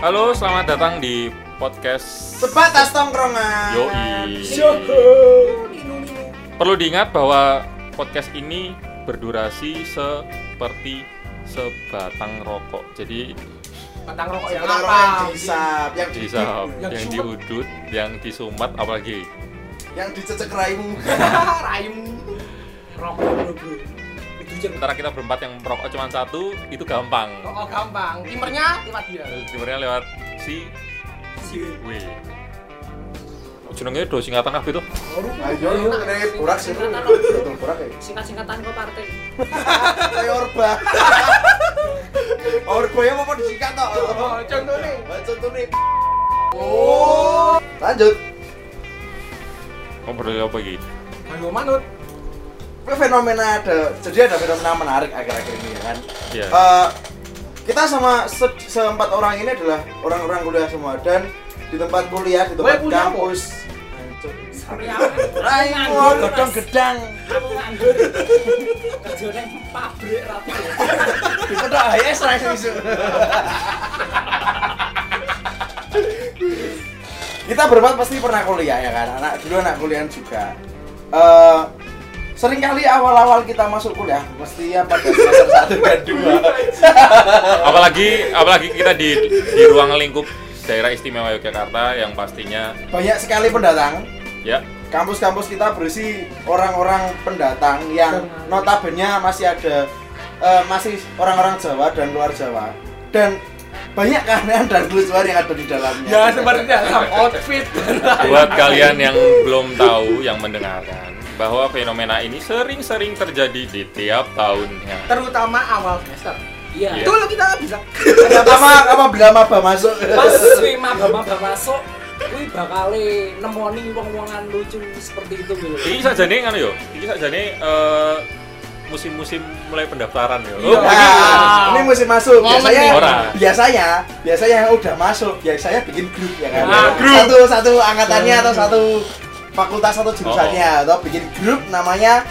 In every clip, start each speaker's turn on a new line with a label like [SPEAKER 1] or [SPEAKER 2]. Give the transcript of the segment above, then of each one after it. [SPEAKER 1] Halo, selamat datang di podcast
[SPEAKER 2] Sebatas tongkrongan.
[SPEAKER 1] Yoi. Perlu diingat bahwa podcast ini berdurasi seperti sebatang rokok. Jadi
[SPEAKER 3] batang rokok yang
[SPEAKER 2] Sekarang
[SPEAKER 3] apa?
[SPEAKER 2] Oh, yang dihisap, yang
[SPEAKER 1] bisa
[SPEAKER 2] di-
[SPEAKER 1] yang diudut, yang disumat apalagi.
[SPEAKER 2] yang dicecek raimu.
[SPEAKER 3] Raimu. Rokok bro bro. Itu jam.
[SPEAKER 1] Sementara kita berempat yang merokok cuma satu, itu gampang.
[SPEAKER 3] Rokok gampang. Timernya lewat dia.
[SPEAKER 1] Sebenarnya lewat si
[SPEAKER 3] Si
[SPEAKER 1] W. Jenenge do singkatan kabeh tuh.
[SPEAKER 2] Ayo lu kene borak sih lu. Betul borak ya.
[SPEAKER 4] singkat-singkatan kok partai
[SPEAKER 2] Kayak orba. Orba ya mau disingkat toh.
[SPEAKER 3] Oh, contohnya.
[SPEAKER 2] Baca tuh nih. Oh. Lanjut.
[SPEAKER 1] Ngobrol apa iki?
[SPEAKER 3] Ayo manut.
[SPEAKER 2] Ini fenomena ada jadi ada fenomena menarik akhir-akhir ini ya kan.
[SPEAKER 1] Iya.
[SPEAKER 2] Eh, kita sama se- seempat orang ini adalah orang-orang kuliah semua dan di tempat kuliah di tempat
[SPEAKER 3] Weh, kuliah apa?
[SPEAKER 2] kampus.
[SPEAKER 4] Kuliah.
[SPEAKER 2] Raimu
[SPEAKER 4] Nganggur, Mas.
[SPEAKER 2] gedang gedang.
[SPEAKER 4] aku nganggur kerja neng pabrik rapi
[SPEAKER 2] Dikedok ae serai isu. Kita berempat pasti pernah kuliah ya kan. Anak dulu anak kuliah juga. Eh seringkali awal-awal kita masuk kuliah mesti ya pada semester 1 dan 2.
[SPEAKER 1] apalagi apalagi kita di di ruang lingkup daerah istimewa Yogyakarta yang pastinya
[SPEAKER 2] Banyak sekali pendatang.
[SPEAKER 1] ya
[SPEAKER 2] Kampus-kampus kita berisi orang-orang pendatang yang notabene masih ada eh, masih orang-orang Jawa dan luar Jawa. Dan banyak keanehan dan kelucuan yang ada di dalamnya.
[SPEAKER 3] Ya seperti dalam outfit.
[SPEAKER 1] buat kalian yang belum tahu yang mendengarkan bahwa fenomena ini sering-sering terjadi di tiap tahunnya
[SPEAKER 3] Terutama awal semester.
[SPEAKER 4] iya
[SPEAKER 1] Iya.
[SPEAKER 3] Itu lo kita bisa.
[SPEAKER 2] Pertama, kamu bilang apa masuk?
[SPEAKER 4] pas si mabama bapak masuk kuwi bakal nemoni wong-wongan lucu seperti itu gitu
[SPEAKER 1] ini saja nih kan yo ini saja nih eh, musim-musim mulai pendaftaran yo
[SPEAKER 4] Iya.
[SPEAKER 2] Ya,
[SPEAKER 4] Wow.
[SPEAKER 2] ini mesti masuk.
[SPEAKER 3] Momen
[SPEAKER 2] Biasanya,
[SPEAKER 1] nih. Ora.
[SPEAKER 2] biasanya, biasanya yang udah masuk, biasanya bikin grup Hmm. ya kan.
[SPEAKER 1] Ah, grup.
[SPEAKER 2] Satu satu angkatannya atau satu fakultas satu jurusannya atau bikin grup namanya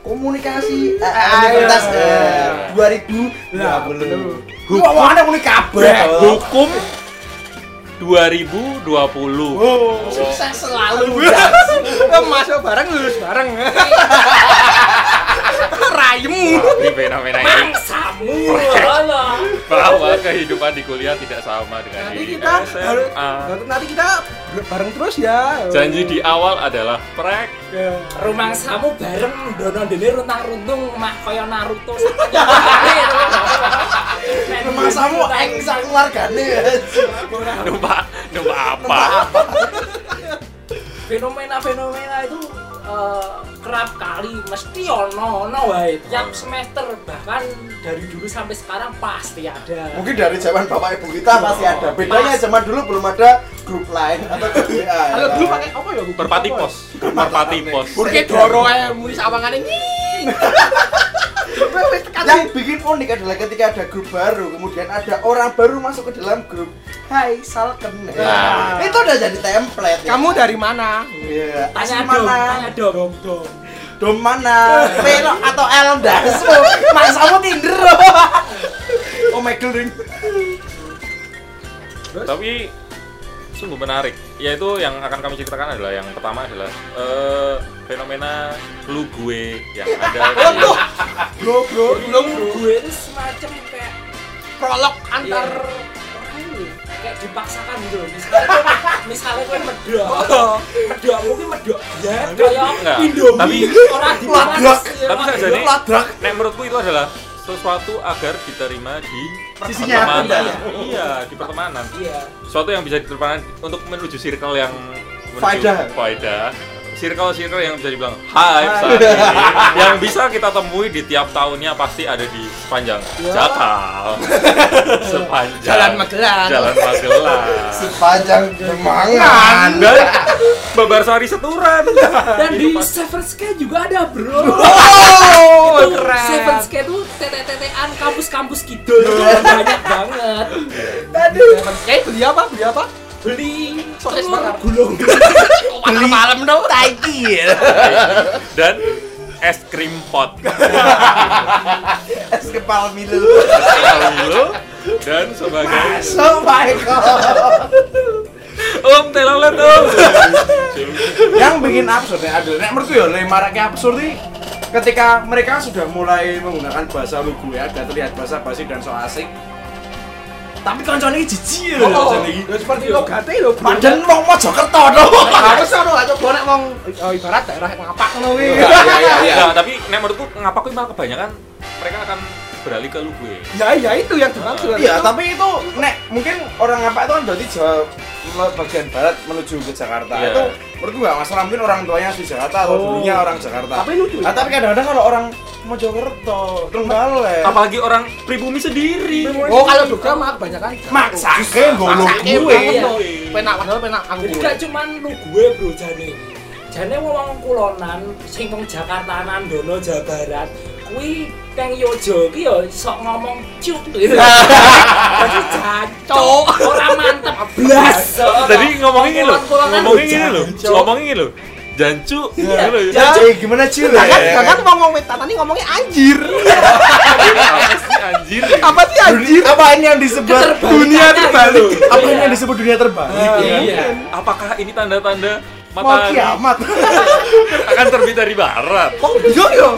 [SPEAKER 2] komunikasi eh, Universitas eh, 2020.
[SPEAKER 3] Nah, betul.
[SPEAKER 2] Gua mau ada mulai kabar.
[SPEAKER 1] hukum 2020
[SPEAKER 2] Oh,
[SPEAKER 4] sukses selalu
[SPEAKER 3] Masuk bareng lulus bareng. Raimu.
[SPEAKER 1] Tapi fenomena ini
[SPEAKER 4] bangsamu Allah
[SPEAKER 1] bahwa kehidupan di kuliah tidak sama dengan
[SPEAKER 3] Nanti
[SPEAKER 1] di
[SPEAKER 3] kita harus
[SPEAKER 1] SMA.
[SPEAKER 3] nanti kita bareng terus ya.
[SPEAKER 1] Janji di awal adalah prek
[SPEAKER 3] Ya.
[SPEAKER 4] rumangsamu bareng dono dene runtang-runtung mah kaya Naruto sakjane Nek
[SPEAKER 2] Emang kamu
[SPEAKER 4] Naruto-
[SPEAKER 2] eng sang keluargane.
[SPEAKER 1] numpak numpak apa?
[SPEAKER 4] fenomena-fenomena itu eh, kerap kali mesti ono ono wae tiap semester bahkan dari dulu sampai sekarang pasti ada
[SPEAKER 2] Mungkin dari zaman bapak ibu kita pasti ada. Bedanya zaman dulu belum ada grup lain atau grup WA.
[SPEAKER 3] Kalau dulu pakai apa ya? Buku
[SPEAKER 1] Perpati
[SPEAKER 3] apa?
[SPEAKER 1] pos, perpati pos.
[SPEAKER 3] Burke doro ae muni sawangane nying. Coba wis tekan
[SPEAKER 2] yang bikin unik adalah ketika ada grup baru kemudian ada orang baru masuk ke dalam grup hai salken
[SPEAKER 1] Nah.
[SPEAKER 2] itu udah jadi template ya.
[SPEAKER 3] Kamu dari mana?
[SPEAKER 2] Iya.
[SPEAKER 4] tanya
[SPEAKER 2] Asli
[SPEAKER 4] dong
[SPEAKER 2] mana
[SPEAKER 4] tanya dong
[SPEAKER 2] dom mana pelok atau eldas mas kamu tinder oh my god
[SPEAKER 1] Tapi sungguh menarik. Yaitu yang akan kami ceritakan adalah yang pertama adalah eh, fenomena lu gue yang ada di
[SPEAKER 3] Bro, bro, belum
[SPEAKER 4] gue itu semacam kayak
[SPEAKER 3] prolog antar
[SPEAKER 4] antar orang ini, kayak dipaksakan gitu loh. misalnya gue misalnya gue medok medok mungkin medok ya
[SPEAKER 1] Enggak.
[SPEAKER 4] kayak Indomie
[SPEAKER 1] Tapi-
[SPEAKER 4] orang
[SPEAKER 2] Ladrak.
[SPEAKER 4] dimalas ya,
[SPEAKER 1] Tapi
[SPEAKER 4] orang
[SPEAKER 1] saja nih,
[SPEAKER 4] dimalas.
[SPEAKER 1] nek menurutku itu adalah sesuatu agar diterima di
[SPEAKER 2] Sisinya,
[SPEAKER 1] pertemanan.
[SPEAKER 2] iya.
[SPEAKER 1] Iya, di pertemanan.
[SPEAKER 4] iya
[SPEAKER 1] Sesuatu yang bisa diterima untuk menuju circle yang menuju
[SPEAKER 2] Faedah.
[SPEAKER 1] faedah. Circle-circle yang bisa dibilang hype saat
[SPEAKER 2] Hai.
[SPEAKER 1] ini Yang bisa kita temui di tiap tahunnya pasti ada di sepanjang
[SPEAKER 2] Ya.
[SPEAKER 1] Jakarta Sepanjang
[SPEAKER 3] Jalan Magelang.
[SPEAKER 1] Jalan Magelang
[SPEAKER 2] sepanjang demangan
[SPEAKER 1] dan babar sari seturan
[SPEAKER 4] dan di Seven Sky juga ada bro
[SPEAKER 3] Oh,
[SPEAKER 4] itu
[SPEAKER 3] keren.
[SPEAKER 4] Seven Sky itu TTTTan kampus-kampus gitu banyak banget
[SPEAKER 3] Aduh. Eh, beli apa? Beli apa?
[SPEAKER 4] beli
[SPEAKER 3] Sukses
[SPEAKER 4] telur
[SPEAKER 3] banget.
[SPEAKER 4] gulung
[SPEAKER 3] Beli malam dong. Taiki.
[SPEAKER 1] dan es krim pot
[SPEAKER 2] es kepal milu
[SPEAKER 1] lalu dan sebagai
[SPEAKER 2] So Oh my god.
[SPEAKER 1] Om telolet Om.
[SPEAKER 2] Yang bikin absurd nek adil. Nek menurutku ya le marake absurd iki ketika mereka sudah mulai menggunakan bahasa lugu ya dan terlihat bahasa basi dan so asik. Tapi kancane iki jijik lho
[SPEAKER 3] Oh,
[SPEAKER 2] kancane iki.
[SPEAKER 3] ya seperti lo gate lo.
[SPEAKER 2] Padahal Iya. wong Mojokerto to.
[SPEAKER 3] harus ono lah coba nek wong eh, ibarat daerah ngapak ngono kuwi.
[SPEAKER 2] Iya, iya, iya.
[SPEAKER 1] Nah, tapi nek menurutku ngapa kuwi malah kebanyakan mereka akan beralih ke lu gue.
[SPEAKER 3] Ya ya itu yang dimaksud.
[SPEAKER 2] Iya,
[SPEAKER 3] Itu-
[SPEAKER 2] tapi itu nek mungkin orang apa itu kan berarti Jawa le- bagian barat menuju ke Jakarta
[SPEAKER 1] Iya.
[SPEAKER 2] itu menurutku nggak masalah mungkin orang tuanya asli Jakarta atau
[SPEAKER 3] Oh.
[SPEAKER 2] dulunya orang Jakarta.
[SPEAKER 3] Tapi lucu ya?
[SPEAKER 2] Nah, tapi kadang-kadang kalau orang Mojokerto, Trenggalek,
[SPEAKER 1] Apalagi orang pribumi sendiri.
[SPEAKER 3] Oh, kalau juga mah kebanyakan
[SPEAKER 2] maksake golong
[SPEAKER 3] Maksake
[SPEAKER 2] gue.
[SPEAKER 3] banget loh. Penak padahal penak aku.
[SPEAKER 4] Jadi gak cuman lu gue bro jane. Jane wong kulonan sing wong Jakartanan dono Jawa Barat kuwi teng Yojo ki yo sok ngomong cuk gitu. Jadi jancok, ora mantep blas.
[SPEAKER 1] Tadi ngomongin gini loh,
[SPEAKER 4] Kulon-kulonan
[SPEAKER 1] ngomongin gini loh,
[SPEAKER 4] jancok.
[SPEAKER 1] ngomongin gini loh. Jancu,
[SPEAKER 4] kan?
[SPEAKER 1] gitu
[SPEAKER 4] Iya,
[SPEAKER 1] loh.
[SPEAKER 2] Ya, eh, gimana sih le?
[SPEAKER 3] Kan kan mau ngomong tata nih ngomongnya anjir.
[SPEAKER 1] Apa sih, anjir.
[SPEAKER 3] Apa sih anjir?
[SPEAKER 2] Dunia- Apa ini yang disebut
[SPEAKER 4] Keterbalikannya
[SPEAKER 2] dunia
[SPEAKER 4] gitu
[SPEAKER 2] terbalik?
[SPEAKER 4] loh.
[SPEAKER 2] Apa ini
[SPEAKER 4] Iya.
[SPEAKER 2] yang disebut dunia terbalik? ya?
[SPEAKER 4] Iya.
[SPEAKER 1] Apakah ini tanda-tanda
[SPEAKER 2] Mau
[SPEAKER 1] matahari
[SPEAKER 2] kiamat. Oh,
[SPEAKER 1] akan terbit dari barat?
[SPEAKER 3] Kok yo yo.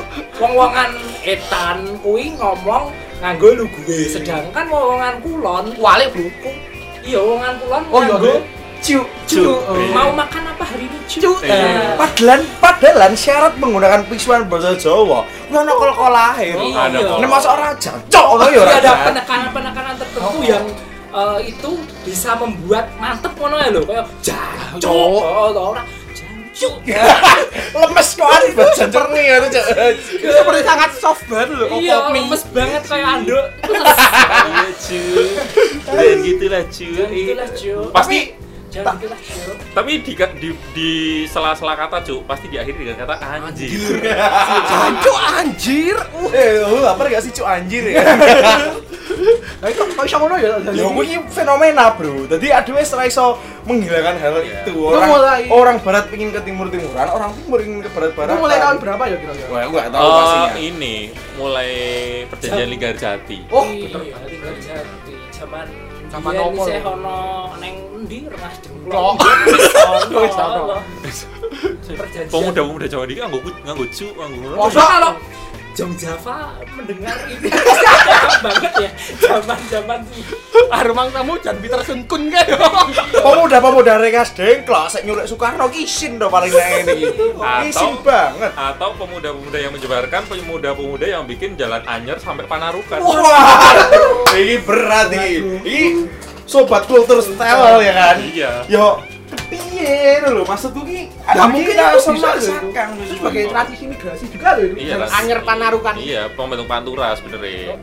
[SPEAKER 4] Wong-wongan etan kuwi ngomong nganggo lu gue sedangkan wong-wongan kulon
[SPEAKER 3] Wale bro.
[SPEAKER 4] iya wongan kulon
[SPEAKER 3] Oh, iya,
[SPEAKER 4] nganggo
[SPEAKER 3] Dek.
[SPEAKER 2] Ciu.
[SPEAKER 1] Cuk.
[SPEAKER 3] eh.
[SPEAKER 4] mau makan apa hari ini cuk.
[SPEAKER 3] Cuk.
[SPEAKER 4] Nah,
[SPEAKER 2] Padahal, padahal syarat menggunakan pisuan bahasa Jawa. Ngono kol-kol lahir.
[SPEAKER 4] Iya.
[SPEAKER 1] Ada kok.
[SPEAKER 2] Nek masa ora jancok ngono ya
[SPEAKER 4] Tapi
[SPEAKER 2] ora.
[SPEAKER 4] ada
[SPEAKER 2] jancok.
[SPEAKER 4] penekanan-penekanan tertentu yang eh, itu bisa membuat mantep ngono ya lho kayak jancuk oh oh, ora jancuk
[SPEAKER 3] Ya,
[SPEAKER 2] Iya. Lemes kok ari bahasa jernih ngono Cuk. Iya.
[SPEAKER 3] Itu seperti sangat soft banget loh.
[SPEAKER 4] iya
[SPEAKER 3] kopi.
[SPEAKER 4] lemes banget kayak anduk
[SPEAKER 1] Iya, cuy. Dan gitulah cuy.
[SPEAKER 4] Jangan gitulah, cuy.
[SPEAKER 1] Pasti
[SPEAKER 4] jangan gitulah cuk
[SPEAKER 1] tapi di di, di sela-sela kata cuy, pasti diakhiri dengan kata anjir.
[SPEAKER 3] Jancuk anjir. Uh,
[SPEAKER 2] Ah. Eh, lu lapar gak sih Cuk anjir ya?
[SPEAKER 3] Lah kok kok iso ngono ya?
[SPEAKER 2] Ya kuwi fenomena, Bro. Dadi aduh wis ora iso menghilangkan hal
[SPEAKER 1] Iya.
[SPEAKER 2] itu.
[SPEAKER 3] Itu
[SPEAKER 2] Orang
[SPEAKER 3] mulai-
[SPEAKER 2] orang barat pingin ke timur-timuran, orang timur ingin ke barat-barat.
[SPEAKER 3] Itu mulai tahun berapa ya kira-kira?
[SPEAKER 2] Wah, aku gak tahu
[SPEAKER 1] Oh,
[SPEAKER 2] pastinya.
[SPEAKER 1] ini mulai perjanjian Liga Jati.
[SPEAKER 3] Oh,
[SPEAKER 4] iya
[SPEAKER 3] bener.
[SPEAKER 4] tinggal jati zaman
[SPEAKER 3] Zaman
[SPEAKER 4] biyen
[SPEAKER 3] opo
[SPEAKER 4] isih
[SPEAKER 3] lho?
[SPEAKER 4] ono neng endi Iya, Mas
[SPEAKER 3] Kok.
[SPEAKER 4] Dengklok
[SPEAKER 3] Wis ono.
[SPEAKER 4] perjanjian
[SPEAKER 1] Pemuda-pemuda Jawa ini nganggo nganggo cu, nganggo ngono.
[SPEAKER 4] Masa kalau Jong Java mendengar ini cakep banget ya zaman-zaman
[SPEAKER 3] Ah, rumah tamu jangan Peter Sunkun kan.
[SPEAKER 2] Pemuda-pemuda rekas dengklok sik nyulik Soekarno kisin to paling nek ini.
[SPEAKER 1] Atau-
[SPEAKER 2] Kisin banget.
[SPEAKER 1] atau pemuda-pemuda yang menyebarkan pemuda-pemuda yang bikin jalan anyer sampai panarukan
[SPEAKER 2] Wah, ini berat ini. Ini sobat kultur style ya kan?
[SPEAKER 1] Iya.
[SPEAKER 2] Yo, piye lho maksudku ki?
[SPEAKER 3] Ya mungkin
[SPEAKER 2] kita
[SPEAKER 3] itu
[SPEAKER 2] harus
[SPEAKER 3] bisa loh.
[SPEAKER 2] memaksakan.
[SPEAKER 3] Itu sebagai tradisi migrasi juga loh.
[SPEAKER 1] Iya, lah.
[SPEAKER 3] Anyer panarukan.
[SPEAKER 1] iya pembentuk pantura sebenernya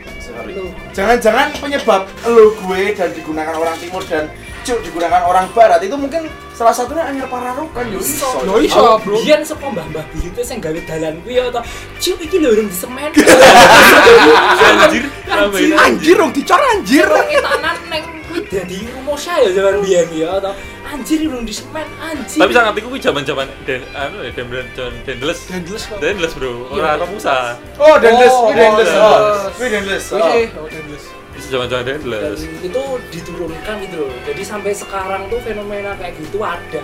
[SPEAKER 2] Jangan-jangan penyebab lo gue dan digunakan orang timur dan cuk digunakan orang barat itu mungkin salah satunya anyar pararukan yo iso.
[SPEAKER 3] Yo iso, Bro.
[SPEAKER 4] Biyen saka mbah-mbah buyute sing gawe dalan kuwi ya ta. Cuk iki lho urung disemen.
[SPEAKER 1] anjir
[SPEAKER 4] Anjir.
[SPEAKER 3] Anjir dong dicor anjir.
[SPEAKER 4] Urung etanan neng kuwi dadi rumusya ya zaman biyen ya ta. Anjir urung disemen, anjir.
[SPEAKER 1] tapi sangat iku zaman zaman den anu ya den den dendeles
[SPEAKER 3] Dendeles kok.
[SPEAKER 1] dendeles bro ora ana musa
[SPEAKER 2] Oh, dendes,
[SPEAKER 3] Oh,
[SPEAKER 2] oh, dendes.
[SPEAKER 1] oh,
[SPEAKER 2] Oh,
[SPEAKER 3] dendes.
[SPEAKER 2] Wih, dendes.
[SPEAKER 3] Wih,
[SPEAKER 2] oh.
[SPEAKER 3] sih, oh, dendeles.
[SPEAKER 1] Itu zaman zaman
[SPEAKER 4] dan
[SPEAKER 1] dendeles
[SPEAKER 4] itu diturunkan gitu loh jadi sampai sekarang tuh fenomena kayak gitu ada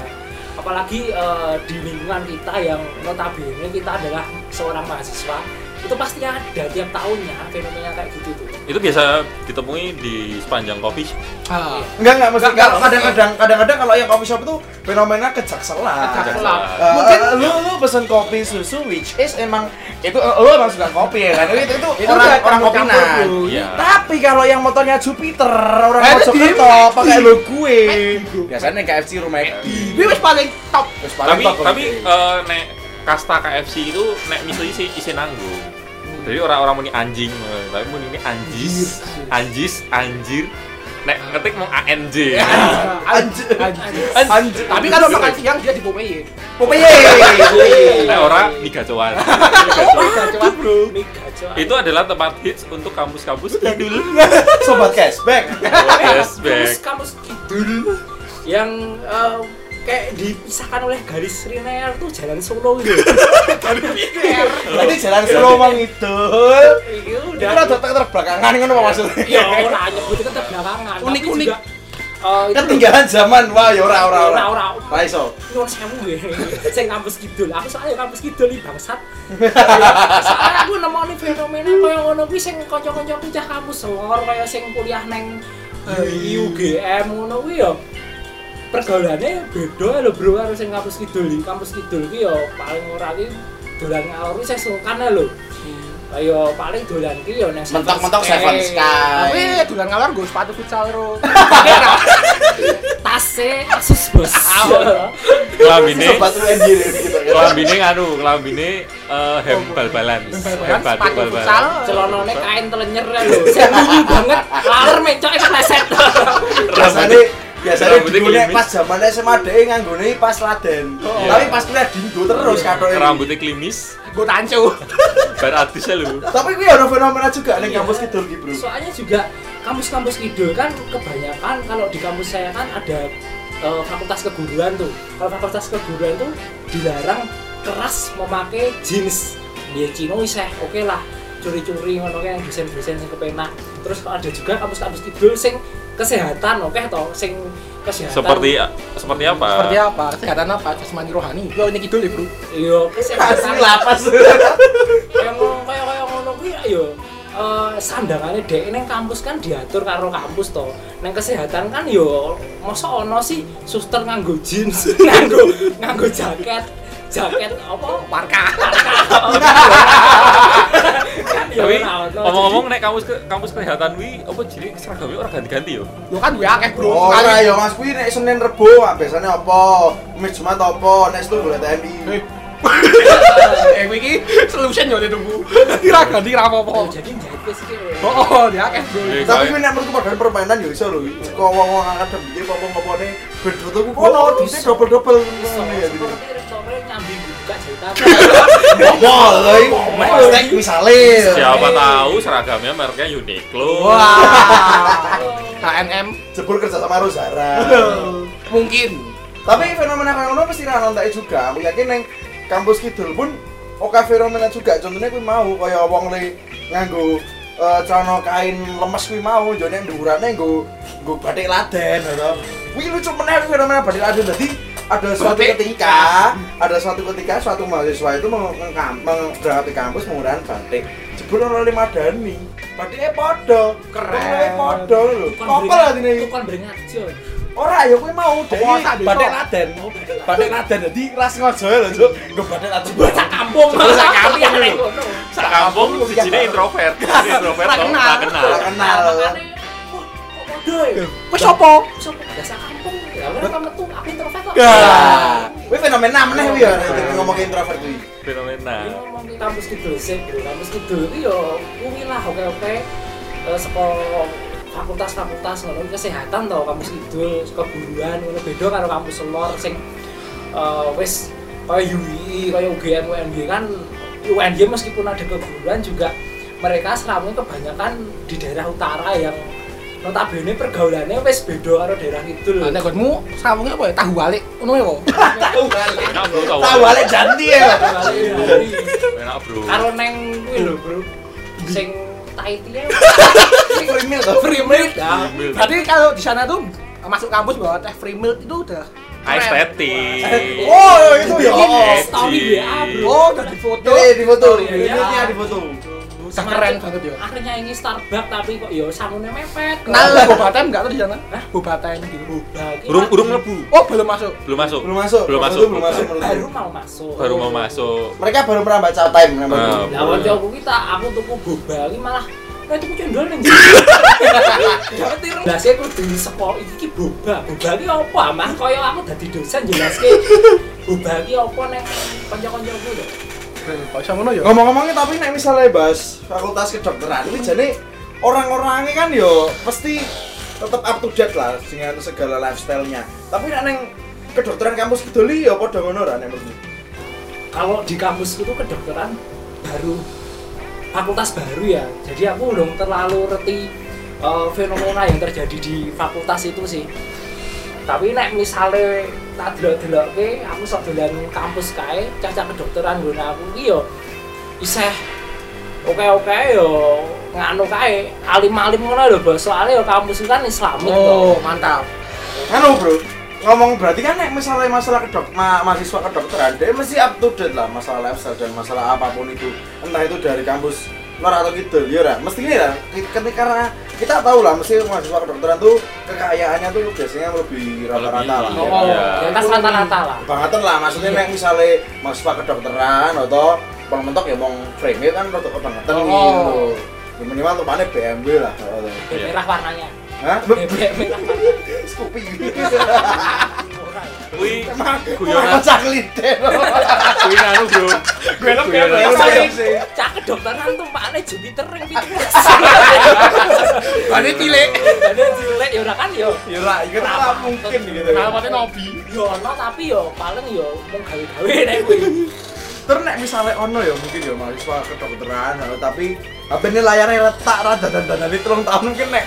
[SPEAKER 4] apalagi eh, di lingkungan kita yang notabene kita adalah seorang mahasiswa itu pasti ada tiap tahunnya fenomena kayak gitu tuh
[SPEAKER 1] itu biasa ditemui di sepanjang kopi
[SPEAKER 3] Ah.
[SPEAKER 2] Enggak enggak mesti
[SPEAKER 3] Enggak,
[SPEAKER 2] kalau kadang-kadang kadang-kadang kalau yang coffee shop itu fenomena kejakselan.
[SPEAKER 3] Kejakselan.
[SPEAKER 2] Eh,
[SPEAKER 3] Mungkin-
[SPEAKER 2] eh, lu lu pesen kopi susu which is emang itu eh, lu emang suka kopi ya kan itu itu,
[SPEAKER 3] Itu
[SPEAKER 2] orang
[SPEAKER 3] udah
[SPEAKER 2] orang
[SPEAKER 3] campur-campur,
[SPEAKER 2] kopinan
[SPEAKER 3] Bro.
[SPEAKER 1] Iya.
[SPEAKER 2] tapi kalau yang motornya Jupiter orang
[SPEAKER 3] Eh, itu
[SPEAKER 2] Mojokerto
[SPEAKER 3] di-
[SPEAKER 2] pakai lo gue
[SPEAKER 3] Macd, Bro.
[SPEAKER 2] biasanya KFC rumah
[SPEAKER 3] Ini wis paling top.
[SPEAKER 2] terus
[SPEAKER 1] tapi tapi eh, nek kasta KFC itu nek misalnya sih isi nanggung jadi orang-orang muni anjing eh, tapi muni ini anjis anjis anjir nek ngetik mau ANJ
[SPEAKER 2] anjir
[SPEAKER 3] Anjir.
[SPEAKER 1] Eh,
[SPEAKER 2] anjir
[SPEAKER 3] Tapi kalau makan siang dia di Popeye.
[SPEAKER 2] Popeye iya,
[SPEAKER 1] nek ora Liga Jawa
[SPEAKER 3] Coba bro.
[SPEAKER 4] mega coy
[SPEAKER 1] itu adalah tempat hits untuk kampus-kampus Oh, kidul
[SPEAKER 2] sobat cashback
[SPEAKER 1] cashback
[SPEAKER 4] kamus kamus kidul yang eh, kayak dipisahkan oleh garis linear tuh jalan Solo gitu.
[SPEAKER 2] Jadi jalan slow mangidul.
[SPEAKER 4] Iya
[SPEAKER 2] Itu
[SPEAKER 4] udah.
[SPEAKER 2] rada ter terbelakangan kan apa maksudnya?
[SPEAKER 4] Ya ora nyebut itu belakangan.
[SPEAKER 3] Unik,
[SPEAKER 4] Tapi
[SPEAKER 3] unik.
[SPEAKER 4] juga, eh, itu
[SPEAKER 2] Ketinggalan zaman. Wah, ya ora ora ora.
[SPEAKER 4] Ora, ora.
[SPEAKER 2] Ra iso.
[SPEAKER 4] nyuwun sewu ya. Sing kampus kidul, aku soalnya kampus kidul iki bangsat. Soalnya aku nemoni fenomena kaya ngono kuwi sing kanca-kancaku cah kampus lor kaya sing kuliah neng eh, UGM ngono kuwi ya. Pergaulannya ya beda lho bro karo sing kampus kidul. Di Kampus kidul kuwi ya paling ora kuwi dolan ngalor kuwi sing sungkan ae lho. Kaya paling dolan kuwi ya nang
[SPEAKER 2] Mentok-mentok
[SPEAKER 4] Seven
[SPEAKER 2] Seven
[SPEAKER 3] Tapi
[SPEAKER 2] Sky.
[SPEAKER 3] dulan ngalor gue sepatu futsal ro.
[SPEAKER 4] Tase Asus bos.
[SPEAKER 1] Kelambine,
[SPEAKER 2] Sobat UNJ gitu kan.
[SPEAKER 1] kelambine anu, kelambine eh hem bal-balan. Hem bal-
[SPEAKER 3] Kan Sepatu
[SPEAKER 1] bal-balan.
[SPEAKER 3] futsal.
[SPEAKER 4] celonone kain telenyer ya lho Saya bunyi banget laler mecok itu pleset
[SPEAKER 2] Biasanya biasanya
[SPEAKER 1] Rambutnya
[SPEAKER 2] digunakan
[SPEAKER 1] klimis.
[SPEAKER 2] pas zaman SMA dhek nganggone pas Laden.
[SPEAKER 4] Oh,
[SPEAKER 1] Iya.
[SPEAKER 2] Tapi pas kuliah dinggo terus
[SPEAKER 4] Iya.
[SPEAKER 2] katoke.
[SPEAKER 1] Rambutnya klimis,
[SPEAKER 3] Gue tancu.
[SPEAKER 1] bar artisnya lu.
[SPEAKER 2] Tapi kuwi ono fenomena juga ning
[SPEAKER 4] Iya.
[SPEAKER 2] kampus kidul ki, Bro.
[SPEAKER 4] soalnya juga kampus-kampus kidul kan kebanyakan kalau di kampus saya kan ada eh, fakultas keguruan tuh kalau fakultas keguruan tuh dilarang keras memakai jeans dia cino iseh oke lah curi-curi ngono kayak yang desain-desain sing kepenak terus kalau ada juga kampus-kampus kidul sing kesehatan oke toh sing kesehatan
[SPEAKER 1] Seperti seperti apa?
[SPEAKER 3] Seperti apa? Kesehatan apa? Jasmani rohani. Gue ini kidul ya bro.
[SPEAKER 4] iya kesehatan
[SPEAKER 2] Asli lapas.
[SPEAKER 4] kaya ngono kaya kaya ngono kuwi ya eh sandangane dhek ning kampus kan diatur karo kampus to. Nang kesehatan kan yo mosok ono sih suster nganggo jeans, nganggo nganggo jaket, jaket apa
[SPEAKER 3] Warka.
[SPEAKER 4] kan yo
[SPEAKER 1] Tapi
[SPEAKER 4] ora ono.
[SPEAKER 1] ngomong-ngomong nek kampus ke- kampus kelihatan wi apa jadi seragamnya orang ganti-ganti yo.
[SPEAKER 3] Gue kan gue akeh bro.
[SPEAKER 2] Ora
[SPEAKER 3] Sekali.
[SPEAKER 2] ya Mas kuwi nek Senin Rebo ah, biasanya apa? Kamis Jumat apa? Nek Setu boleh TMI.
[SPEAKER 3] Eh. Eh gue ini solution yo ditunggu. Kira ganti kira
[SPEAKER 4] Jadi-
[SPEAKER 3] apa-apa.
[SPEAKER 4] jadi jahit sih.
[SPEAKER 3] Oh, oh, dia akeh bro.
[SPEAKER 1] Eh,
[SPEAKER 2] Tapi
[SPEAKER 1] kayak-
[SPEAKER 2] kuwi nek menurutku padahal permainan ya iso lho. Kok wong-wong akademik iki popo-popone ben foto ku kono
[SPEAKER 4] Oh,
[SPEAKER 2] duitnya
[SPEAKER 4] iso.
[SPEAKER 2] double-double ngono ya. gitu.
[SPEAKER 4] Seperti restoran nyambi buka jahitan.
[SPEAKER 2] Ngomol lho. Mestek misale.
[SPEAKER 1] Siapa tahu seragamnya mereknya Uniqlo.
[SPEAKER 3] Wah. KNM
[SPEAKER 2] Jebul kerja sama Rosara.
[SPEAKER 3] mungkin.
[SPEAKER 2] Tapi fenomena kaya ngono mesti ra nontoki juga. Aku yakin neng kampus kidul pun oke fenomena juga. Contohnya kuwi mau kaya wong le nganggo eh, celana kain lemes kuwi mau yo nek ndurane nggo nggo batik laden lho. Kuwi lucu meneh kuwi fenomena batik laden dadi ada suatu
[SPEAKER 3] Batik.
[SPEAKER 2] ketika, ada suatu ketika suatu mahasiswa itu meng- mengkam- mengberangkat ke kampus menggunakan batik. Jebul ora le madani. Batike padha,
[SPEAKER 3] Keren.
[SPEAKER 2] Wonge padha lho. Kokol atine iki.
[SPEAKER 4] Tukon beringatjo.
[SPEAKER 2] Ora ya kowe mau dadi
[SPEAKER 3] Apa watak desa?
[SPEAKER 2] batik laden. Batik laden dadi ras ngojo ya lho, Cuk. Nggo batik laden.
[SPEAKER 4] Sak kampung, sak kampung yang ning kono.
[SPEAKER 1] Sekampung si Jine introvert. Si introvert
[SPEAKER 3] Nggak
[SPEAKER 1] tau
[SPEAKER 3] kenal.
[SPEAKER 1] nggak kenal.
[SPEAKER 2] Nggak kenal.
[SPEAKER 3] Wes apa?
[SPEAKER 4] biasa kampung ya ora kamu tuh aku introvert kok
[SPEAKER 2] Nah, Kuwi fenomena meneh kuwi ya nek
[SPEAKER 1] Nah.
[SPEAKER 2] ngomong introvert kuwi.
[SPEAKER 1] Fenomena.
[SPEAKER 4] Ini ngomong di kampus kidul sih bro kampus kidul itu ya kuwi lah oke oke sekolah fakultas fakultas ngono kuwi kesehatan tau kampus kidul keguruan ngono beda karo kampus lor sing eh, wis kaya UI kaya UGM UNY kan UNY meskipun ada keguruan juga mereka seramnya kebanyakan di daerah utara yang notabene pergaulannya wis beda karo daerah kidul
[SPEAKER 3] Nah, nekotmu sawunge apa ya? Tahu balik ngono ya apa?
[SPEAKER 2] Tahu balik.
[SPEAKER 1] Enak bro tau.
[SPEAKER 2] Tahu balik janti ya.
[SPEAKER 1] Enak bro.
[SPEAKER 4] karo neng kuwi lho bro sing Tahiti ya
[SPEAKER 2] Krimil to.
[SPEAKER 3] Free milk. ya.
[SPEAKER 1] Free milk.
[SPEAKER 3] Berarti kalau di sana tuh masuk kampus bawa teh free milk itu udah
[SPEAKER 1] Estetik.
[SPEAKER 2] Oh, ya itu ya.
[SPEAKER 1] Ini
[SPEAKER 2] Oh.
[SPEAKER 4] story ya bro
[SPEAKER 3] Oh, udah difoto.
[SPEAKER 2] Ini di foto,
[SPEAKER 4] Iya.
[SPEAKER 2] ini di foto.
[SPEAKER 3] Udah keren banget ya.
[SPEAKER 4] akhirnya ini Starbucks tapi kok ya sangunnya mepet
[SPEAKER 3] Kenal lah boba tem enggak tuh di sana?
[SPEAKER 4] Hah?
[SPEAKER 3] Boba tem gitu.
[SPEAKER 1] Urung urung lebu.
[SPEAKER 3] Oh, belum masuk.
[SPEAKER 1] Belum masuk.
[SPEAKER 2] Belum masuk.
[SPEAKER 1] Belum
[SPEAKER 2] Waktu
[SPEAKER 1] masuk.
[SPEAKER 2] itu Belum masuk. belum
[SPEAKER 4] baru
[SPEAKER 2] masuk.
[SPEAKER 4] mau masuk
[SPEAKER 1] Baru mau masuk.
[SPEAKER 2] Mereka baru pernah baca time namanya.
[SPEAKER 1] Ah.
[SPEAKER 4] lawan aku kita aku tuku boba ini malah Nah, itu cendol nih. Lah saya kudu di sekolah iki ki boba. Boba ki apa? Mah kaya aku dadi dosen jelaske. Boba ki apa nek kanca-kancaku lho.
[SPEAKER 3] Kok iso ngono ya?
[SPEAKER 2] Ngomong-ngomongnya tapi nek misalnya bahas fakultas kedokteran ini jadi orang-orangnya kan yo pasti tetap up to date lah dengan segala lifestyle-nya. Tapi nek neng kedokteran kampus Kiduli ya padha ngono ra nek menurutmu.
[SPEAKER 4] kalau di kampusku tuh kedokteran baru fakultas baru ya jadi aku belum terlalu reti eh, fenomena yang terjadi di fakultas itu sih tapi nek misalnya tak delok-delokke aku sok dolan kampus kae, caca kedokteran nggon aku ki yo isih oke-oke yo nganu kae, alim-alim ngono lho bos. Soale yo kampus ku kan Islamik
[SPEAKER 3] Oh,
[SPEAKER 4] kok.
[SPEAKER 3] mantap.
[SPEAKER 2] Anu bro, ngomong berarti kan nek misalnya masalah kedok ma mahasiswa kedokteran dia mesti up to date lah masalah lifestyle dan masalah apapun itu entah itu dari kampus luar atau gitu ya ora mesti ini lah ki- ketika karena kita tahu lah mesti mahasiswa kedokteran tuh kekayaannya tuh biasanya lebih rata-rata lah ya.
[SPEAKER 1] Lebih, iya.
[SPEAKER 4] Di atas rata-rata lah.
[SPEAKER 2] bangetan lah maksudnya
[SPEAKER 4] Iya.
[SPEAKER 2] nek misalnya mahasiswa kedokteran atau pengentok ya mau frame kan rada kebangetan
[SPEAKER 3] Oh.
[SPEAKER 2] gitu Ya, minimal tuh mana BMW lah atau-
[SPEAKER 4] Bebek merah warnanya.
[SPEAKER 2] Hah?
[SPEAKER 4] Bebek merah warnanya.
[SPEAKER 2] Scoopy
[SPEAKER 4] Ora ya.
[SPEAKER 1] Kuwi
[SPEAKER 2] Guyonan
[SPEAKER 1] guyonan,
[SPEAKER 2] cak lite.
[SPEAKER 1] kuwi anu, Bro. Kuwi
[SPEAKER 2] Gelap ya,
[SPEAKER 1] guyonan.
[SPEAKER 2] gelap.
[SPEAKER 4] Soale
[SPEAKER 2] sih.
[SPEAKER 4] cah kedokteran tumpakane Jupiter ring 17.
[SPEAKER 3] Bane cilik.
[SPEAKER 4] Jadi jelek ya ora kan yo.
[SPEAKER 2] Ya lah, itu tak mungkin gitu.
[SPEAKER 3] Alamatnya Nobi.
[SPEAKER 4] Yo ono tapi yo paling yo mung gawe-gawe nek kuwi.
[SPEAKER 2] Terus nek misalnya ono ya mungkin ya mahasiswa kedokteran atau tapi apa ini layarnya letak rada dan dan dari telung tahun mungkin nek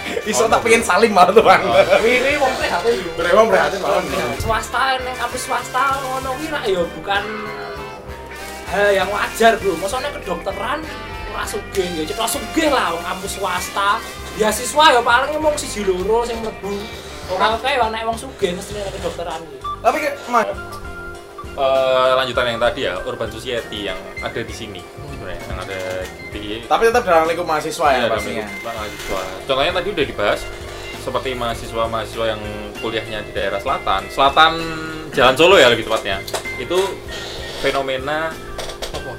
[SPEAKER 1] Oh,
[SPEAKER 2] iso tak pengen saling malah tuh bang.
[SPEAKER 4] Ini wong prihatin yo.
[SPEAKER 2] Bener emang prihatin malah.
[SPEAKER 4] swasta neng kampus swasta ngono kuwi rak yo bukan hal yang wajar bro maksudnya kedokteran ora sugih yo cetok sugih lah wong kampus swasta beasiswa yo paling mung siji loro sing mlebu ora kae yo nek wong sugih mesti nang kedokteran ya. kuwi
[SPEAKER 2] Tapi kayak mah
[SPEAKER 1] Eh, lanjutan yang tadi ya, urban society yang ada di sini sebenarnya, yang ada di
[SPEAKER 2] tapi tetap dalam lingkup mahasiswa
[SPEAKER 1] Iya,
[SPEAKER 2] ya pastinya.
[SPEAKER 1] dalam lingkup mahasiswa. Contohnya tadi udah dibahas seperti mahasiswa-mahasiswa yang kuliahnya di daerah selatan, selatan Jalan Solo ya lebih tepatnya. Itu fenomena
[SPEAKER 3] Apa?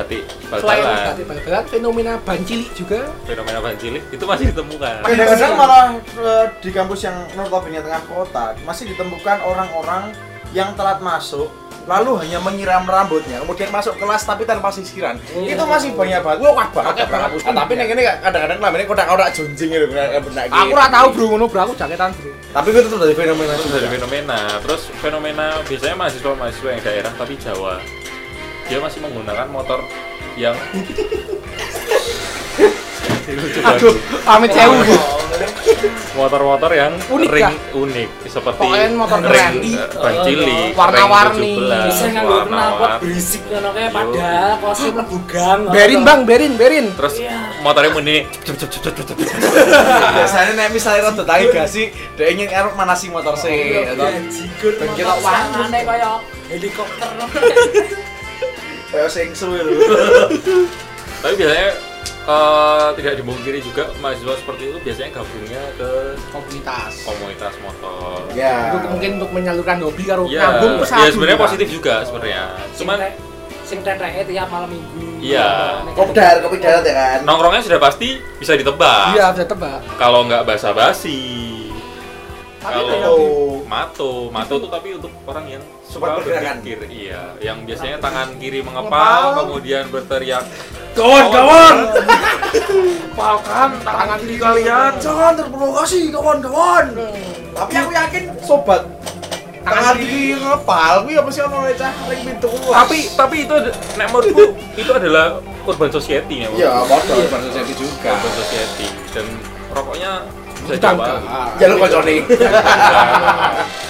[SPEAKER 1] batik
[SPEAKER 3] Selain
[SPEAKER 1] bal-balan,
[SPEAKER 3] tadi bal-balan, fenomena ban cilik juga.
[SPEAKER 1] fenomena ban cilik itu masih ditemukan.
[SPEAKER 2] Kadang-kadang malah eh, di kampus yang notabene tengah kota masih ditemukan orang-orang yang telat masuk lalu hanya menyiram rambutnya kemudian masuk kelas tapi tanpa sisiran itu masih banyak banget wah wah banget
[SPEAKER 3] banget.
[SPEAKER 2] kampus. Iya. tapi neng ini kadang-kadang namanya kodak ora junjing gitu
[SPEAKER 3] Aku ora tahu bro ngono bro, aku jaketan bro.
[SPEAKER 2] tapi itu tetap dari fenomena
[SPEAKER 1] Terus
[SPEAKER 2] juga
[SPEAKER 1] dari fenomena, terus fenomena biasanya mahasiswa-mahasiswa yang daerah tapi Jawa. Dia masih menggunakan motor yang Lucu banget.
[SPEAKER 3] Aduh, pamit sewu. bro.
[SPEAKER 1] motor-motor yang
[SPEAKER 3] Unik
[SPEAKER 1] ring
[SPEAKER 3] kah?
[SPEAKER 1] unik seperti
[SPEAKER 3] Pokoknya motor keren.
[SPEAKER 1] ring eh, ban cilik,
[SPEAKER 3] Warna-warni.
[SPEAKER 1] ring 17,
[SPEAKER 4] bisa nganggo kenapa
[SPEAKER 1] warna-warni.
[SPEAKER 4] berisik ngono kae padahal kosim mlebu gang ngono.
[SPEAKER 3] Berin bang, berin, berin.
[SPEAKER 1] terus
[SPEAKER 4] Iya.
[SPEAKER 1] motornya muni cep, cep, cep, cep, cep, cep.
[SPEAKER 2] biasanya nek misalnya rada tangi gak sih dia ingin erok mana sih motor sih ya
[SPEAKER 4] Iya,
[SPEAKER 1] kan?
[SPEAKER 2] atau
[SPEAKER 4] jigur
[SPEAKER 2] Ben
[SPEAKER 4] ngono,
[SPEAKER 2] kita wangun.
[SPEAKER 4] sangane kaya helikopter
[SPEAKER 2] kayak sing suwe lho
[SPEAKER 1] tapi biasanya eh, tidak dibungkiri juga mahasiswa seperti itu biasanya gabungnya ke
[SPEAKER 3] Komunitas.
[SPEAKER 1] komunitas motor
[SPEAKER 2] ya
[SPEAKER 3] Untuk mungkin untuk menyalurkan hobi karo
[SPEAKER 1] Iya,
[SPEAKER 3] nyambung pesatu.
[SPEAKER 1] ya sebenarnya
[SPEAKER 3] juga.
[SPEAKER 1] positif juga sebenarnya. Cuman
[SPEAKER 4] Sing te- sing teteke tiap malam minggu
[SPEAKER 1] Iya.
[SPEAKER 2] kopdar kopi darat ya kan
[SPEAKER 1] nongkrongnya sudah pasti bisa ditebak.
[SPEAKER 3] Iya, bisa tebak.
[SPEAKER 1] Kalau nggak basa-basi,
[SPEAKER 3] Tapi
[SPEAKER 1] Kalau-
[SPEAKER 3] kayak
[SPEAKER 2] oh
[SPEAKER 1] mato, mato tuh tapi untuk orang yang suka
[SPEAKER 2] Cepat bergerakan.
[SPEAKER 1] berpikir. Iya, yang biasanya tangan kiri mengepal, kemudian berteriak.
[SPEAKER 2] kawan kawan
[SPEAKER 3] Palkan tangan kiri kalian.
[SPEAKER 2] jangan terprovokasi kawan-kawan tapi aku yakin sobat Hmm. tangan di ngepal kuwi apa sih ono cah ring pintu
[SPEAKER 1] Tapi tapi itu ada- nek menurutku itu adalah urban society ya.
[SPEAKER 2] ya
[SPEAKER 1] menurutku.
[SPEAKER 2] modal bareng jadi juga
[SPEAKER 1] Urban society dan rokoknya bisa
[SPEAKER 3] Hutang,
[SPEAKER 1] coba.
[SPEAKER 3] Kak.
[SPEAKER 2] jalur kocone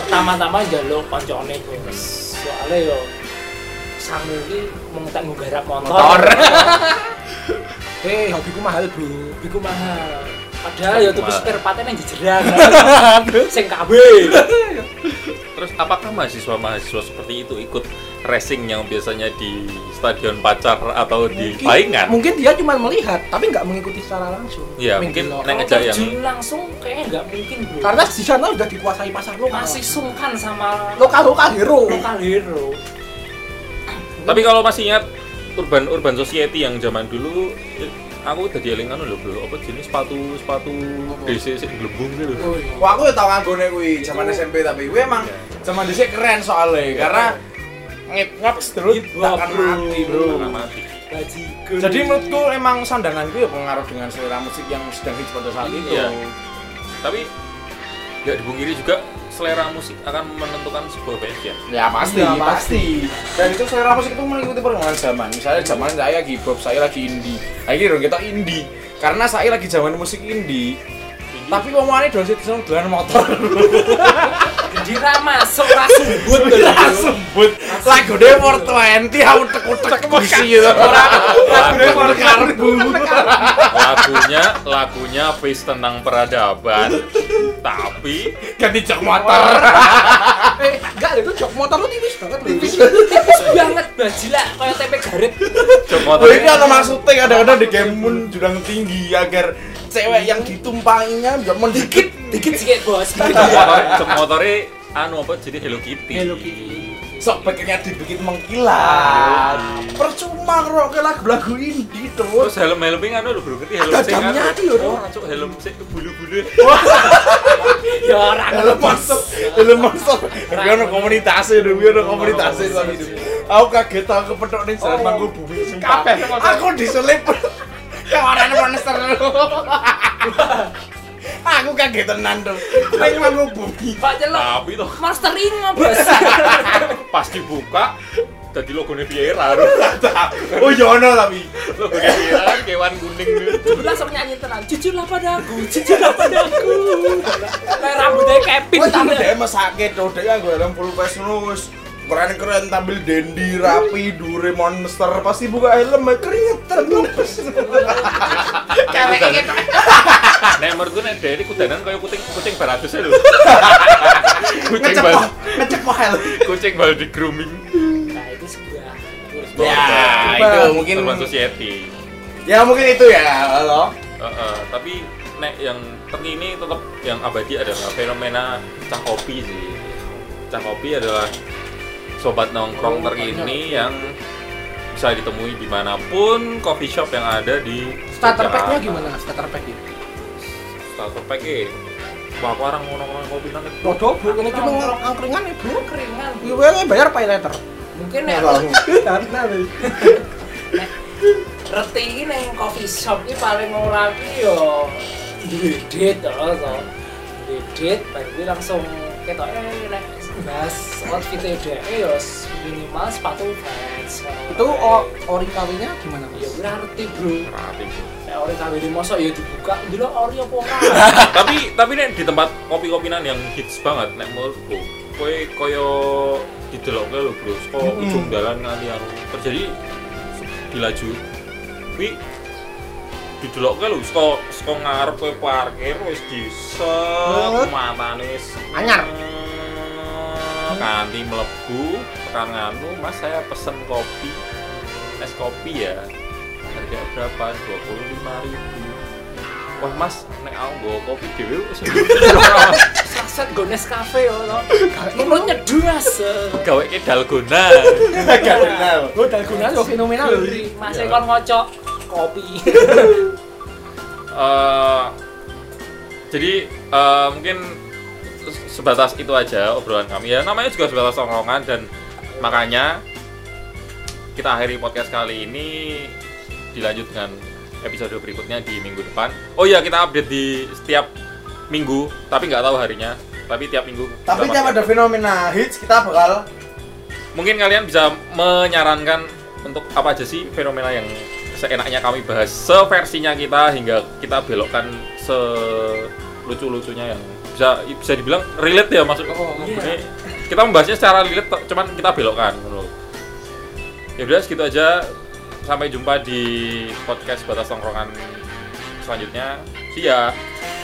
[SPEAKER 4] pertama-tama njaluk koncone kuwi soalnya yo sangu iki mung tak nggarap motor
[SPEAKER 3] Hei, Eh, hobiku mahal bro.
[SPEAKER 4] iku mahal padahal yo tuku
[SPEAKER 1] Mahal.
[SPEAKER 4] spare partnya yang jejeran sing KB
[SPEAKER 1] Terus apakah mahasiswa-mahasiswa seperti itu ikut racing yang biasanya di stadion pacar atau di paingan?
[SPEAKER 3] mungkin dia cuma melihat, tapi nggak mengikuti secara langsung.
[SPEAKER 1] Iya,
[SPEAKER 3] Main
[SPEAKER 1] mungkin
[SPEAKER 3] di lokal.
[SPEAKER 1] nek ngejak yang
[SPEAKER 4] terjun langsung kayaknya nggak mungkin bro
[SPEAKER 3] Karena di sana udah dikuasai pasar lokal.
[SPEAKER 4] masih sungkan sama
[SPEAKER 3] lokal lokal hero.
[SPEAKER 4] lokal hero
[SPEAKER 1] Tapi kalau masih ingat urban urban society yang zaman dulu eh, aku udah dieling anu lho bro, apa jenis sepatu sepatu DC sing glebung gitu. lho.
[SPEAKER 4] Oh, iya.
[SPEAKER 2] Wah, aku ya tau nganggone kuwi zaman SMP tapi kuwi emang zaman dhisik keren soalnya karena ngip-ngap Iya,
[SPEAKER 3] Iya,
[SPEAKER 2] terus Iya.
[SPEAKER 4] Hip hop,
[SPEAKER 3] kan
[SPEAKER 2] takkan
[SPEAKER 4] bro.
[SPEAKER 2] mati, bro.
[SPEAKER 1] Karena Iya, kan mati.
[SPEAKER 4] Bajigur.
[SPEAKER 2] Jadi menurutku emang sandanganku ya pengaruh dengan selera musik yang sedang hits pada saat itu.
[SPEAKER 1] Iya. Tapi nggak dibungkiri juga selera musik akan menentukan sebuah fashion.
[SPEAKER 2] Ya pasti,
[SPEAKER 3] Iya,
[SPEAKER 2] pasti. Dan itu selera musik itu mengikuti perkembangan zaman. Misalnya zaman saya lagi pop, saya lagi indie. Lagi dong kita indie. Karena saya lagi zaman musik indie. Tapi omongannya dosis seneng dolan motor.
[SPEAKER 4] diramas ora sumbut to lho.
[SPEAKER 1] Sebut
[SPEAKER 2] Iya, Lagu deh for 20 aku tekuk-tekuk puisi gitu.
[SPEAKER 1] Lagu-
[SPEAKER 2] for karbu.
[SPEAKER 1] lagunya lagunya face tentang peradaban tapi
[SPEAKER 2] Ganti jok motor.
[SPEAKER 3] Eh, enggak itu jok motor lu tipis banget loh. Tipis.
[SPEAKER 4] Tipis banget bajila kaya tempe garet.
[SPEAKER 1] jok
[SPEAKER 2] Gue
[SPEAKER 1] motornya
[SPEAKER 2] Oh, ini ada maksudnya kadang-kadang di game moon jurang tinggi agar cewek yang ditumpanginya juga mendikit
[SPEAKER 4] Dikit sikit bos.
[SPEAKER 1] jok motor- jok motornya anu apa jadi Hello Kitty
[SPEAKER 4] Hello Kitty.
[SPEAKER 2] sok bagiannya dibikin mengkilat. Percuma kok kayak lagu-lagu indie terus.
[SPEAKER 1] terus helm helmnya anu lu bro ngerti helm
[SPEAKER 3] Ada
[SPEAKER 1] sing anu.
[SPEAKER 3] jamnya iki lho, Dok.
[SPEAKER 1] oh masuk helm sing ke bulu-bulu
[SPEAKER 4] Ya ora
[SPEAKER 2] Hello masuk, hello masuk. Gue ada komunitasnya, gue ada komunitasnya tapi itu. Aku kaget tau kepethuk nih jalan mangku bumi sumpah.
[SPEAKER 1] Kabeh.
[SPEAKER 2] Aku diselip. Kawanan monster. Aku kaget tenan tuh. Ning mangku bumi.
[SPEAKER 4] Pak Celok.
[SPEAKER 1] tapi tuh
[SPEAKER 4] Mastering bos.
[SPEAKER 1] pas dibuka jadi logonya Viera
[SPEAKER 2] Oh iya ono tapi.
[SPEAKER 1] logonya Viera kan kewan kuning gitu
[SPEAKER 4] Aku langsung nyanyi tenang. Jujurlah padaku, jujurlah padaku. Kayak rambutnya Kevin.
[SPEAKER 2] Wah tapi dia emang sakit tuh, dia gue dalam full face ngono, wis keren-keren tampil dendi rapi dure monster pasti buka helm eh, keringetan lepas
[SPEAKER 4] gitu.
[SPEAKER 1] Ah, Nek menurutku nek Dery kudanan kayak kucing kucing baratus lho. kucing bal
[SPEAKER 2] ngecepoh ngecepoh helm
[SPEAKER 1] kucing bal di grooming.
[SPEAKER 4] Nah, itu sebuah
[SPEAKER 2] Ya,
[SPEAKER 1] Termasuk-
[SPEAKER 2] itu mungkin-
[SPEAKER 1] termasuk Yeti.
[SPEAKER 2] ya mungkin itu ya lo
[SPEAKER 1] Heeh, tapi nek yang terkini tetap yang abadi adalah fenomena cah kopi sih. Cah kopi adalah sobat
[SPEAKER 3] Oh,
[SPEAKER 1] nongkrong terkini yang bisa ditemui dimanapun coffee shop yang ada di
[SPEAKER 3] Starter pack-nya
[SPEAKER 1] Yogyakarta.
[SPEAKER 3] gimana? Starter pack gitu.
[SPEAKER 1] Starter pack eh. Wah, aku orang mau nongkrong kopi nang itu.
[SPEAKER 3] Rodo bu, ini cuma ng- angkringan ya bu.
[SPEAKER 4] keringan.
[SPEAKER 3] Gue bayar pay letter.
[SPEAKER 4] Mungkin nek
[SPEAKER 2] Nggak
[SPEAKER 3] Nah, nih.
[SPEAKER 4] reti iki ning coffee shop iki paling ora iki yo duwe duit to to. Duwe duit baru kuwi langsung ketok eh nek bahas outfit e dhek yo s- minimal sepatu Vans.
[SPEAKER 3] Itu oh. o- ori kawinya gimana
[SPEAKER 4] yo
[SPEAKER 3] mas?
[SPEAKER 4] ora ngerti bro.
[SPEAKER 1] Rapi.
[SPEAKER 4] Nek ori kawi di mosok yo dibuka ndelok ori apa ora.
[SPEAKER 1] tapi tapi nek di tempat kopi-kopinan yang hits banget nek menurutku kowe koyo didelokne lho Bro saka ujung dalan nganti anu terjadi se- di laju kuwi didelokne lho saka saka ngarep kowe parkir wis disek matane s-
[SPEAKER 3] Anyar.
[SPEAKER 1] nganti mlebu tekan anu Mas saya pesen kopi es kopi ya harga berapa 25.000 wah mas nek aku nggawa kopi dhewe wis
[SPEAKER 4] Saset go Nescafe yo to. eh. Mulut nyedu mas.
[SPEAKER 1] gaweke dalgona
[SPEAKER 2] kenal
[SPEAKER 3] Gue dari guna lo fenomenal loh. ini.
[SPEAKER 4] Mas kon ngocok kopi.
[SPEAKER 1] Eh, jadi eh, mungkin se- sebatas itu aja obrolan kami ya namanya juga sebatas tongkrongan dan makanya kita akhiri podcast kali ini dilanjut dengan episode berikutnya di minggu depan oh iya kita update di setiap minggu tapi nggak tahu harinya tapi tiap minggu kita
[SPEAKER 2] tapi
[SPEAKER 1] pasti
[SPEAKER 2] tiap ada fenomena hits kita bakal
[SPEAKER 1] mungkin kalian bisa menyarankan untuk apa aja sih fenomena yang seenaknya kami bahas seversinya kita hingga kita belokkan selucu-lucunya yang bisa bisa dibilang relate ya maksud
[SPEAKER 3] Oh,
[SPEAKER 1] ini kita membahasnya secara relate to- cuman kita belokkan menurut ya udah segitu aja sampai jumpa di podcast batas tongkrongan selanjutnya see ya